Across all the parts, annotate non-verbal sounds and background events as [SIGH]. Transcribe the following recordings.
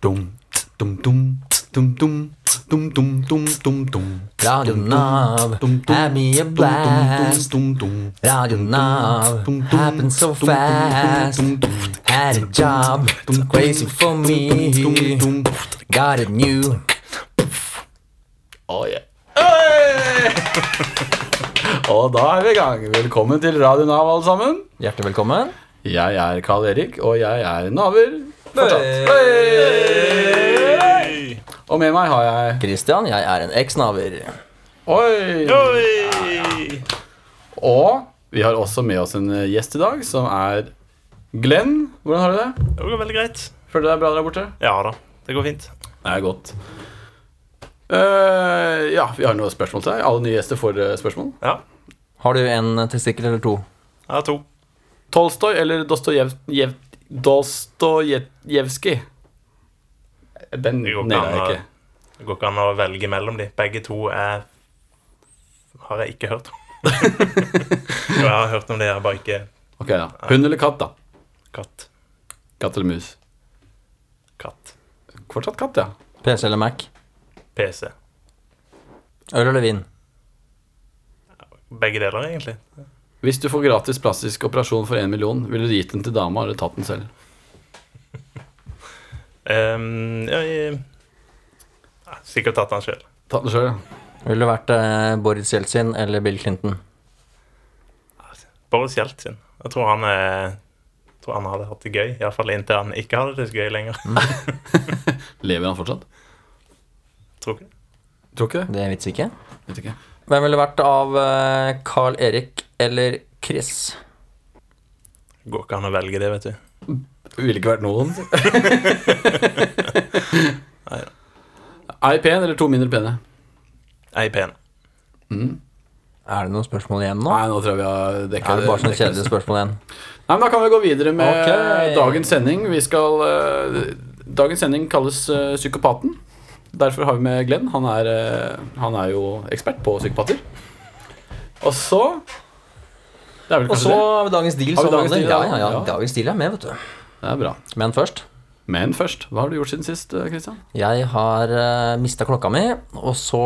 Dum, tss, dum, dum, tss, dum, dum, tss, dum, dum, dum, dum, dum. Radio Dum, dum, Nav, tss, dum, dum, have me a tss, dum, dum, blast. dum, dum, dum. Radio Nav Dum, dum, happened so dum, dum, dum, fast. dum, dum, dum. Had a job, Dum, crazy dum, for dum, dum, me. dum, dum. Got it new. Oh, yeah. Hey! [LAUGHS] og da er vi i gang. Velkommen til Radio Nav, alle sammen. Hjertelig velkommen. Jeg er Karl Erik, og jeg er naver. Fortsatt. Hey! Og med meg har jeg Christian, jeg er en eksnaver. Oi! Og vi har også med oss en eh, gjest i dag, som er Glenn. Hvordan har du det? Det går veldig greit. Føler du deg bra der borte? Ja da, det går fint. Det er godt. Eh, ja, vi har noen spørsmål til deg. Alle nye gjester får eh, spørsmål. Ja, Har du en testikkel eller to? jeg har to. Tolstoy eller Dostojev... Dostojevskij? Den Det går ikke nailer jeg an å- ikke. Det går ikke an å velge mellom de. Begge to er har jeg ikke hørt [LAUGHS] om. Jo, jeg har hørt om det, jeg har bare ikke Ok da, Hund eller katt, da? katt. Katt eller mus? Katt. Fortsatt katt, ja. PC eller Mac? PC. Øl eller vin? Begge deler, egentlig. Hvis du får gratis plastisk operasjon for én million, ville du gitt den til dama eller tatt den selv? Ehm, ja, jeg, ja, sikkert tatt han sjøl. Tatt den sjøl, ja. Ville det vært eh, Boris Jeltsin eller Bill Clinton? Boris Jeltsin. Jeg tror han, eh, tror han hadde hatt det gøy. Iallfall inntil han ikke hadde det så gøy lenger. Lever han fortsatt? Tror ikke det. Tror ikke det. Det vits ikke. Vet ikke. Hvem ville vært av eh, Carl Erik eller Chris? Går ikke an å velge det, vet du. Ville ikke vært noen. [LAUGHS] Er jeg pen eller to mindre pene? Jeg er pen. Er det noen spørsmål igjen nå? Nei, nå tror jeg vi har dekka Er det bare sånn sånne kjedelige spørsmål igjen? Nei, men Da kan vi gå videre med Ok. dagens sending. Vi skal eh, Dagens sending kalles eh, Psykopaten. Derfor har vi med Glenn. Han er, eh, han er jo ekspert på psykopater. Og så Det er vel Og kanskje så har vi dagens deal Har vi som dagens vanlig. Ja, deal, ja, ja, ja. dagens deal er med, vet du. det. Det er bra. Men først. Men først, hva har du gjort siden sist, eh, Christian? Jeg har uh, mista klokka mi, og så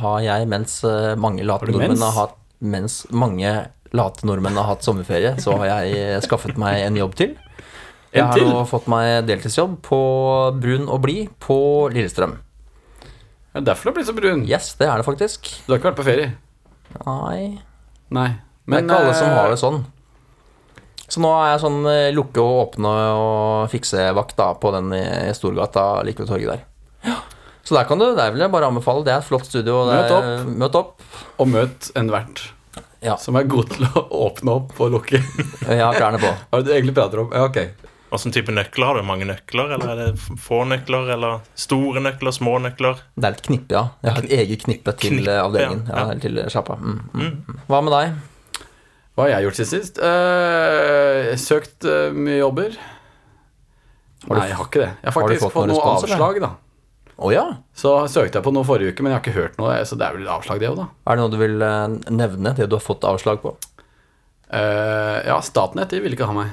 har jeg, mens eh, mange late du mens? nordmenn har hatt Mens mange late nordmenn har hatt sommerferie, så har jeg eh, skaffet meg en jobb til. Jeg En har til? nå fått meg deltidsjobb på Brun og Blid på Lillestrøm. Er det derfor du har blitt så brun? Yes, det er det faktisk. Du har ikke vært på ferie? Nei Nei. eh, Det er ikke alle som har det sånn. Så nå er jeg sånn eh, lukke og åpne og fikse vakt da, på den i i Storgata like ved torget der. Så der kan du, der vil jeg bare anbefale. Det er et flott studio. og Det Møt er, Møt opp. Og møt en vert Ja. som er god til å [LAUGHS] åpne opp og lukke. Jeg har klærne på. Hva er det du egentlig prater om? Ja, ok. Hvilken type nøkler har du? Mange nøkler? Eller er det f- få nøkler? Eller store nøkler? Små nøkler? [LAUGHS] Det er et knippe, ja. Jeg har et eget knippe til Knippe, eh, avdelingen. ja. Ja, eller til eh, sjappa. Mm, mm. mm. Hva med deg? Hva har jeg gjort siden sist? Eh, søkt eh, mye jobber. Har du- Nei, jeg har ikke det. Jeg har har du faktisk fått noen fått noe respons, eller? avslag, da. Å ja. Så søkte jeg på noe forrige uke, men jeg har ikke hørt noe, så det er vel et avslag, det òg, da. Er det noe du vil eh, nevne? Det du har fått avslag på? Eh, ja, Statnett de ville ikke ha meg.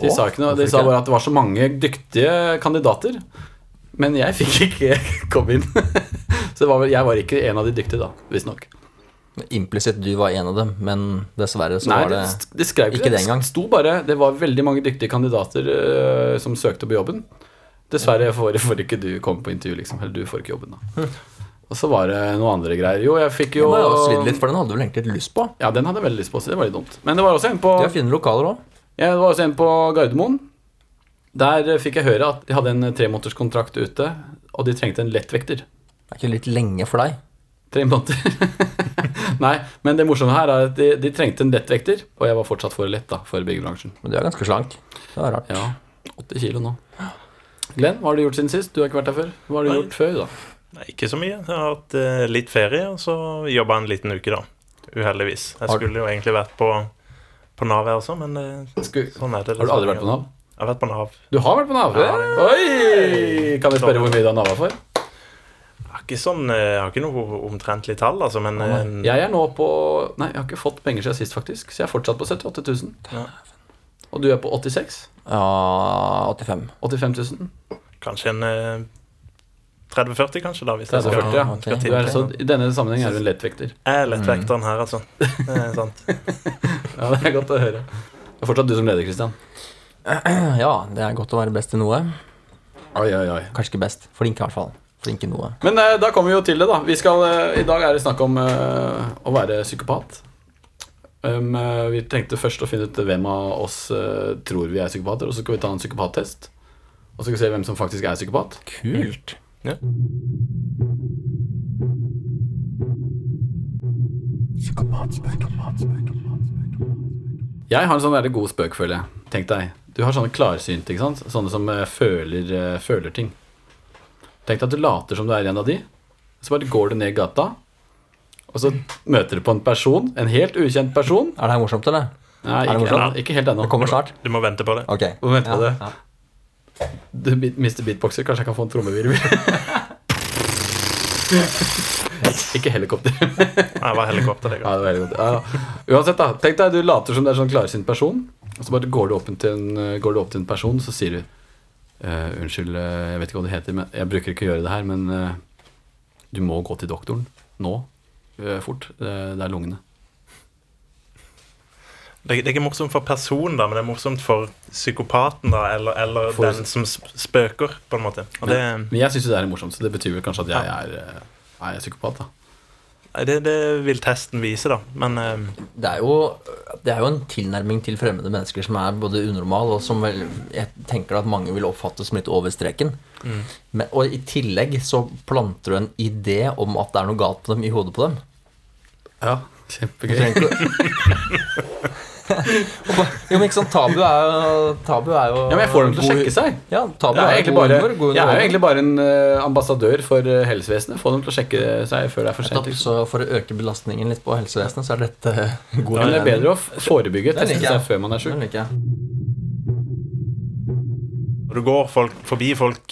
De Å, sa ikke noe, de hvorfor sa ikke? bare at det var så mange dyktige kandidater. Men jeg fikk ikke [LAUGHS] komme inn. så det var vel, jeg var ikke en av de dyktige, da, visstnok. Implisitt du var en av dem, men dessverre så Nei, var det, det st- de skrev ikke det engang. Det sto bare det var veldig mange dyktige kandidater eh, som søkte på jobben. Dessverre får, får ikke du komme på intervju, liksom. Eller du får ikke jobben, da. Og så var det noen andre greier. Jo, jeg fikk jo Du må jo svidd litt, for den hadde du vel egentlig litt lyst på. Ja, den hadde jeg veldig lyst på, så det var litt dumt. Men det var også en på De har fine lokaler òg. Ja, det var også en på Gardermoen. Der eh, fikk jeg høre at de hadde en eh, tremånederskontrakt ute, og de trengte en lettvekter. Er ikke det litt lenge for deg? Tre måneder. [LAUGHS] Nei, men det morsomme her er at de, de trengte en lettvekter, og jeg var fortsatt for lett da, for byggebransjen. Men du er ganske slank. Det er rart. Ja, 80 kilo nå. Glenn, hva har du gjort siden sist? Du har ikke vært her før. Hva har du Nei. gjort før, da? Nei, ikke så mye. Jeg har hatt eh, litt ferie, og så jobba en liten uke, da. Uheldigvis. Jeg Har- skulle jo egentlig vært på, på Nav, jeg også, men eh, Sku- sånn er det. Har du aldri vært på Nav? Jeg har vært på Nav. Du har vært på Nav? Ja, det- Oi! Kan vi spørre hvor mye du har Nav for? Jeg har ikke, sånn, eh, jeg har ikke noe omtrentlig tall, altså, men eh, Jeg er nå på Nei, jeg har ikke fått penger siden sist, faktisk. Så jeg er fortsatt på 78 000. Ja. Og du er på 86 Ja, 85. 85 000. Kanskje en eh, 30-40, kanskje, da, hvis 30-40, jeg skal, ja. skal Du er, tippe. så, I denne sammenheng er du en lettvekter. Jeg er lettvekteren her, altså. Det [LAUGHS] er sant. Ja, Det er godt å høre. Det er fortsatt du som leder, Christian. Ja, det er godt å være best i noe. Oi, oi, oi. Kanskje ikke best. Flink, i hvert fall. Flink i noe. Men eh, da kommer vi jo til det, da. Vi skal, eh, I dag er det snakk om eh, å være psykopat. Um, eh, vi tenkte først å finne ut hvem av oss eh, tror vi er psykopater, og så skal vi ta en psykopattest. Og så skal vi se hvem som faktisk er psykopat. Kult. Ja. Jeg har en sånn veldig god spøk, føler jeg. Tenk deg. Du har sånne klarsynte, ikke sant? Sånne som eh, føler, eh, føler ting. Tenk deg at du later som du er en av de, så bare går du ned gata, og så møter du på en person, en helt ukjent person. Er det her morsomt, eller? Nei, Er det ikke, morsomt? ikke helt ennå. Det kommer snart. Du må vente på det. Ok. Må vente på ja, det. Ja. Du bit- mister beatboxer, kanskje jeg kan få en [LAUGHS] trommevirvel? ikke helikopter. Nei, det var helikopter, Ja, det. går. det var veldig godt. Ja, ja. Uansett, da. Tenk deg, du later som du er en sånn klarsynt person, og så bare går du opp til en, går du opp til en person, så sier du «Eh, Unnskyld, eh, jeg vet ikke hva du heter, men jeg bruker ikke å gjøre det her, men eh, du må gå til doktoren nå. eh, fort. Eh, det er lungene. det. Det er ikke morsomt for personen, da, men det er morsomt for psykopaten, da, eller, eller For- den som sp- spøker, på en måte. Og det, Men jeg syns jo det er morsomt, så det betyr vel kanskje at jeg er, eh, er jeg psykopat, da. nei, det, det vil testen vise, da. Men eh, Det, er jo, det er jo en tilnærming til fremmede mennesker som er både unormal, og som vel, jeg tenker at mange vil oppfatte som litt over streken. Men, og i tillegg så planter du en idé om at det er noe galt på dem i hodet på dem. Ja, kjempegøy. [LAUGHS] Jo, men ikke sant, tabu er jo, tabu er jo Ja, men jeg får dem til å god- sjekke seg. Ja, tabu Jeg er, er egentlig jo bare, humor. God jeg er jo underholdning. egentlig bare en eh, ambassadør for eh, helsevesenet. Få dem til å sjekke seg før det er for sent. liksom. Nettopp, Så for å øke belastningen litt på helsevesenet, så er dette [LAUGHS] god Men det er bedre å f- forebygge Den teste liker jeg. seg før man er Den sjuk. liker jeg. Når du går folk, forbi folk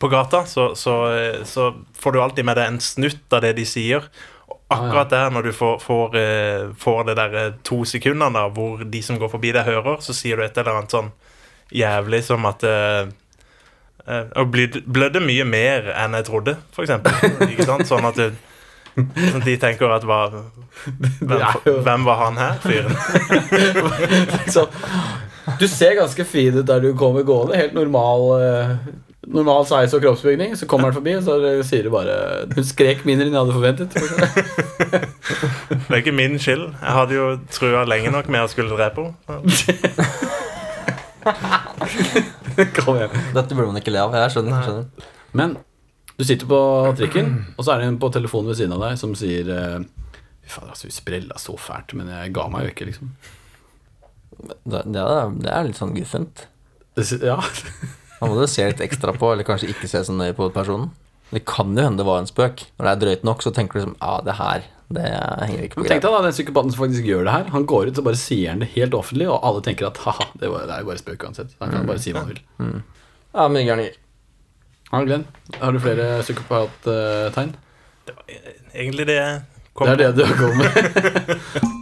på gata, så, så, eh, så får du alltid med deg en snutt av det de sier. Og akkurat der, når du får, får, eh, får det der eh, to sekundene da, hvor de som går forbi deg, hører, så sier du et eller annet sånn jævlig som at eh, eh, Og blød- blødde mye mer enn jeg trodde, for eksempel. Ikke sant? Sånn at du, sånn at de tenker at hva, hvem, er jo- hvem var han her, fyren? [LAUGHS] Så, du ser ganske fin ut der du kommer gående. Helt normal, eh, normal sveis og kroppsbygning. Så kommer han forbi, og så eh, sier du bare Hun skrek mindre enn jeg hadde forventet. [LAUGHS] Det er ikke min skyld. Jeg hadde jo trua lenge nok med å skulle drepe henne. Kom igjen. Dette burde man ikke le av. Jeg skjønner. skjønner. Men du sitter på trikken, og så er det en på telefonen ved siden av deg som sier eh, Fy fader, altså, vi sprella så fælt, men jeg ga meg jo ikke, liksom. Det, det, er, det er litt sånn guffent. Det, si- ja. [LAUGHS] Da må du se litt ekstra på, eller kanskje ikke se så nøye på personen. Det kan jo hende det var en spøk. Når det er drøyt nok, så tenker du som Ja, det her, det henger ikke på Tenk greip. deg da, den psykopaten som faktisk gjør det her. Han går ut og bare sier han det helt offentlig, og alle tenker at haha, det var- det er jo bare spøk uansett. Han kan bare si hva han vil. Ja, mye gærninger. Mm. Ja, Glenn, har du flere psykopattegn? Det var eh, egentlig det jeg kom Det er på. det du har kommet med. [LAUGHS]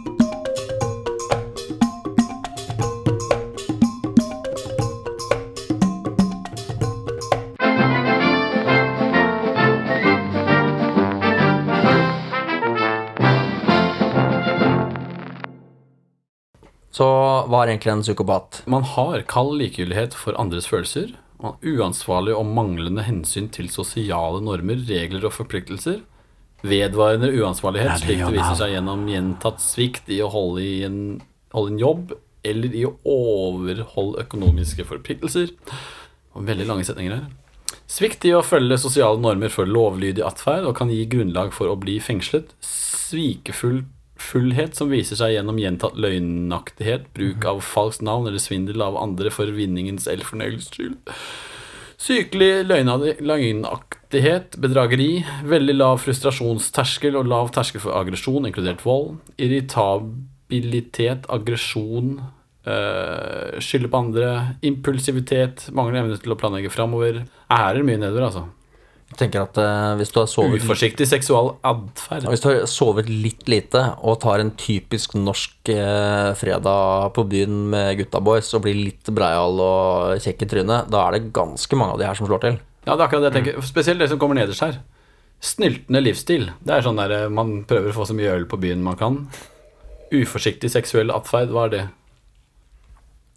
Så hva er egentlig en psykopat? Man har kald likegyldighet for andres følelser. Man er uansvarlig og manglende hensyn til sosiale normer, regler og forpliktelser. Vedvarende uansvarlighet, slik det viser seg gjennom gjentatt svikt i å holde, i en, holde en jobb, eller i å overholde økonomiske forpliktelser. Og veldig lange setninger her. Svikt i å følge sosiale normer for lovlydig atferd og kan gi grunnlag for å bli fengslet. Svikefullhet som viser seg gjennom gjentatt løgnaktighet, bruk av falskt navn eller svindel av andre for vinningens eller fornøyelses skyld. Sykelig løgnade- løgnaktighet, bedrageri, veldig lav frustrasjonsterskel og lav terskel for aggresjon, inkludert vold. Irritabilitet, aggresjon, øh, skylde på andre, impulsivitet, manglende evne til å planlegge framover. Her er det mye nedover, altså. Jeg tenker at eh, hvis du har sovet Uforsiktig seksual atferd. Hvis du har sovet litt lite og tar en typisk norsk eh, fredag på byen med gutta boys og blir litt breial og kjekk i trynet, da er det ganske mange av de her som slår til. Ja, det er akkurat det jeg tenker. Spesielt det som kommer nederst her. Snyltende livsstil. Det er sånn der eh, man prøver å få så mye øl på byen man kan. Uforsiktig seksuell atferd, hva er det?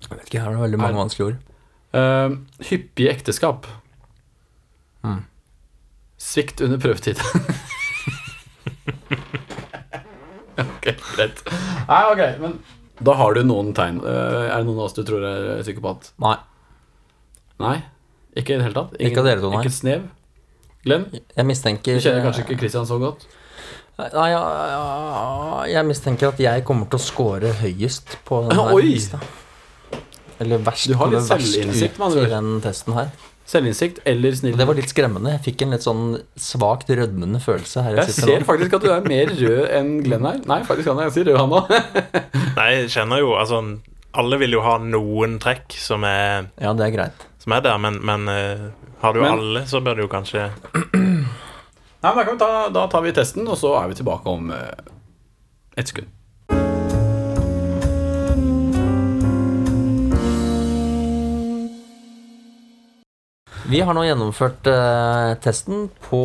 Jeg vet ikke, her er det veldig mange vanskelige ord. Eh, hyppige ekteskap. Mm. Svikt under prøvetid. [LAUGHS] ok, greit. Nei, ok, men Da har du noen tegn. Eh, er det noen av oss du tror er psykopat? Nei. Nei? Ikke i det hele tatt? Ikke av dere to, nei. Ikke et snev? Glenn, Jeg du mistenker kjenner kanskje ikke Christian så godt? Nei, ja, ja, jeg mistenker at jeg kommer til å score høyest på den her Oi! lista. Eller verst, Du har litt kommer verst selvinnsikt, med ut andre i den testen her. Selvinnsikt eller Og snill? Det var litt skremmende. Jeg fikk en litt sånn svakt rødmende følelse her. Jeg ser faktisk at du er mer rød enn Glenn her. Nei, faktisk han er ganske rød, han òg. Nei, jeg kjenner jo Altså, alle vil jo ha noen trekk som er, Ja, det er greit. som er der, men, men eh, har du Men- alle, så bør du jo kanskje [LAUGHS] Nei, men da, kan vi ta, da tar vi testen, og så er vi tilbake om eh, ett sekund. Vi har nå gjennomført eh, testen på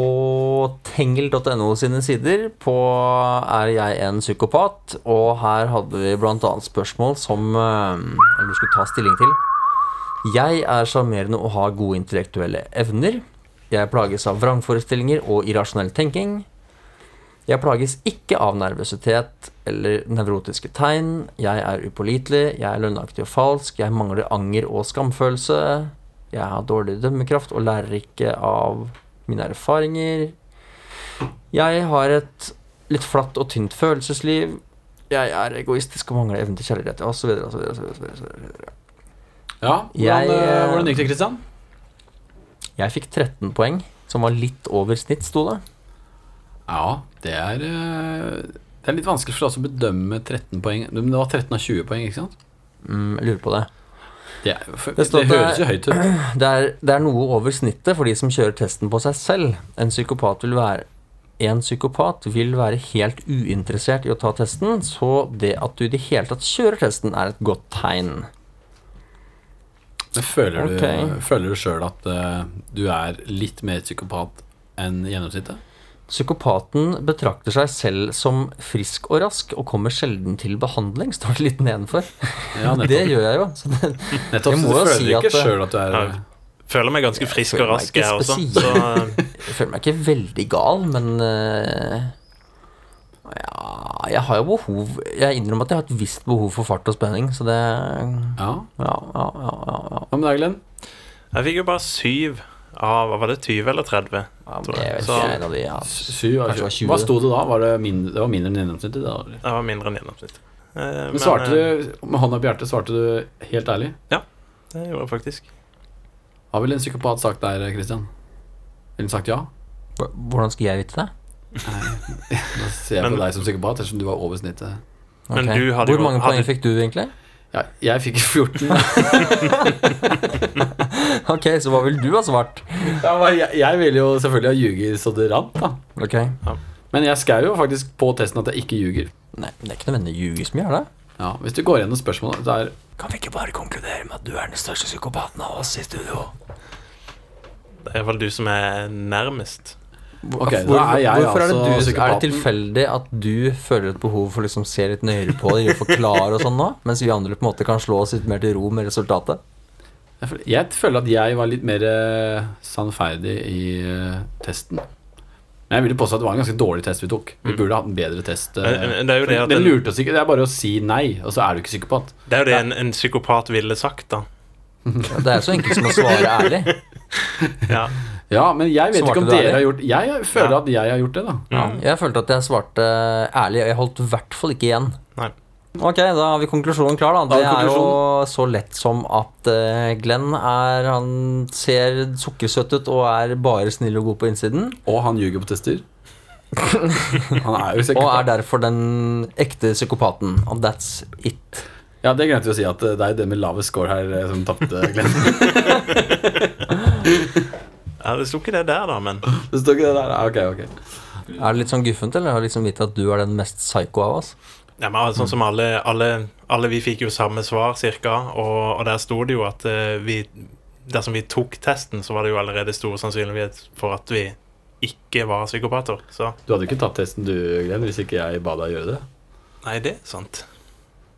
tengel.no sine sider på Er jeg en psykopat? Og her hadde vi bl.a. spørsmål som eh, eller du skulle ta stilling til. Jeg er sjarmerende og har gode intellektuelle evner. Jeg plages av vrangforestillinger og irrasjonell tenking. Jeg plages ikke av nervøsitet eller nevrotiske tegn. Jeg er upålitelig, jeg er løgnaktig og falsk, jeg mangler anger og skamfølelse. Jeg har dårlig dømmekraft og lærer ikke av mine erfaringer. Jeg har et litt flatt og tynt følelsesliv. Jeg er egoistisk og mangler evne til kjærlighet, osv. osv. Ja, Jeg, hvordan, eh, eh, hvordan gikk det, Kristian? Jeg fikk 13 poeng, som var litt over snitt, sto det. Ja, det er, eh, det er litt vanskelig for oss å bedømme 13 poeng. Men det var 13 av 20 poeng, ikke sant? Mm, jeg lurer på det. Det, er, for, Det det, står høres der- jo høyt ut. Det er, det er noe over snittet for de som kjører testen på seg selv. En psykopat vil være en psykopat vil være helt uinteressert i å ta testen, så det at du i det hele tatt kjører testen, er et godt tegn. Men føler du, Ok. føler du sjøl at eh, du er litt mer psykopat enn [LAUGHS] gjennomsnittet? Psykopaten betrakter seg selv som frisk og rask, og kommer sjelden til behandling, står det litt nedenfor. Ja, Det gjør jeg jo. Så det, nettopp Jeg så må jo du føler si at eh, ikke det- sjøl at du er Ja. Føler meg ganske frisk føler og meg rask, ikke jeg også. Så eh, spesielt. jeg føler meg ikke veldig gal, men eh, ja, jeg har jo behov Jeg innrømmer at jeg har et visst behov for fart og spenning, så det Ja, Ja, ja, ja. ja, ja. Hva med deg, Glenn? jeg fikk jo bare syv av Var det 20 eller 30? Ja, tror det jeg. vet Så- ikke jeg da de ja. Syv av Kanskje det var 20. 20. Hva sto det da? Var det, mindre, det var mindre enn gjennomsnittet? Det, da, eller? Det var mindre enn gjennomsnittet. Eh, men svarte eh, du, med hånda på hjertet, svarte du helt ærlig? Det gjorde jeg faktisk. Har vel en psykopat sagt der, Kristian? Ville han sagt ja? Hva- Hvordan skal jeg vite det? Da ser jeg Men- på deg som psykopat, ettersom du var over snittet. Ok. Men du hadde Hvor jo- mange hadde- poeng fikk du egentlig? Ja, jeg fikk [LAUGHS] 14. Ok, så hva vil du ha svart? Ja, men jeg, jeg ville jo selvfølgelig ha ljuger så det rant, da. Ok, Men jeg skrev jo faktisk på testen at jeg ikke ljuger. Nei, det er ikke nødvendig å ljuge så mye, er det? Ja, Hvis du går gjennom spørsmålet det er, Kan vi ikke bare konkludere med at du er den største psykopaten av oss i studio? Det er iallfall du som er nærmest. Ok, da er jeg hvorfor er det, altså du, er det psykopaten. tilfeldig at du føler et behov for å liksom se litt nøyere på det og forklare og sånn nå, mens vi andre på en måte kan slå oss litt mer til ro med resultatet? jeg føler- Jeg føler at jeg var litt mer eh, sannferdig i eh, testen. Men jeg ville påstå at det var en ganske dårlig test vi tok. Vi burde hatt en bedre test. eh, Mm. Men- men det er jo det at den den- lurte oss ikke. Det er bare å si nei, og så er du ikke psykopat. Det er jo det en, en psykopat ville [LAUGHS] sagt, da. Ja, Det er så enkelt som å svare ærlig. Ja. Ja, men jeg vet Svarte ikke om du ærlig? dere har gjort Jeg føler Ja. at jeg har gjort det, da. [LAUGHS] Ja, jeg følte at jeg svarte ærlig, og jeg holdt i hvert fall ikke igjen. Nei. Ok, da har vi konklusjonen klar, da. Da Det har vi er jo så lett som at eh, Glenn er Han ser sukkersøt ut og er bare snill og god på innsiden. Og han ljuger på tester. Han er jo Og psykopat. er derfor den ekte psykopaten. And that's it. Ja, det glemte vi å si at eh, det er det med lavest score her eh, som tapte, [LAUGHS] Glenn. Ja, det sto ikke det der, da, men Det står ikke det der? Ah, Ok, ok. Er det litt sånn guffent, eller har jeg liksom vite at du er den mest psycho av oss? ja, men Sånn som alle, alle, alle vi fikk jo samme svar, cirka, og, og der sto det jo at eh, vi dersom vi tok testen, så var det jo allerede stor sannsynlighet for at vi ikke var psykopater. Så Du hadde jo ikke tatt testen du, Glenn, hvis ikke jeg ba deg gjøre det. nei, det er sant.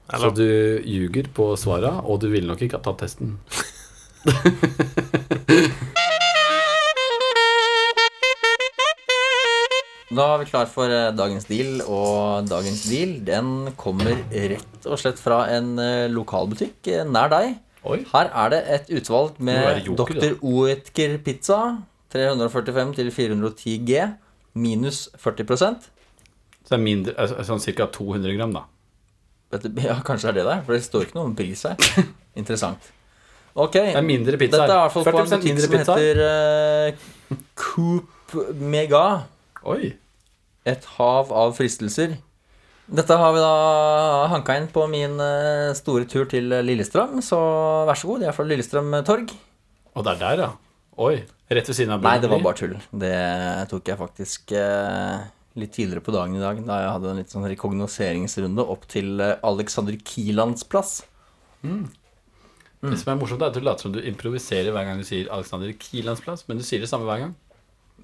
Så Eller du ljuger på svara, og du ville nok ikke ha tatt testen. Da er vi klar for eh, dagens deal, og dagens deal den kommer rett og slett fra en eh, lokalbutikk eh, nær deg. Oi. Her er det et utvalg Må være med joker, da. Dr. Oetker pizza 345 til 410 G minus 40 Så det er mindre, altså, sånn ca. 200 gram, da. Vet du- [LAUGHS] Ja, kanskje det er det der, for det står ikke noe om pris her. [LAUGHS] Interessant. Ok, Det er mindre pizza. dette er i hvert fall på en 40% butikk som heter eh, Coop Mega. Oi. Et hav av fristelser. Dette har vi da hanka inn på min eh, store tur til Lillestrøm, så vær så god. Jeg er fra Lillestrøm torg. Og det er der, ja. Oi. Rett ved siden av Nei, det var Burger bare tull. Det tok jeg faktisk eh, litt tidligere på dagen i dag, da jeg hadde en litt sånn rekognoseringsrunde opp til eh, Alexander Kiellands plass. Mm. King. Det som er morsomt, er at du later som du improviserer hver gang du sier Alexander Kiellands plass, men du sier det samme hver gang.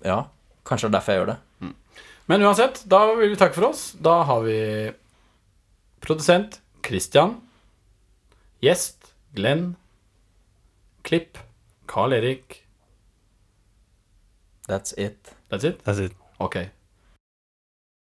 Ja, kanskje det er derfor jeg gjør det. Men uansett, da vil vi takke for oss. Da har vi produsent Christian, gjest Glenn, klipp Carl Erik. That's it. That's it? That's it. Ok.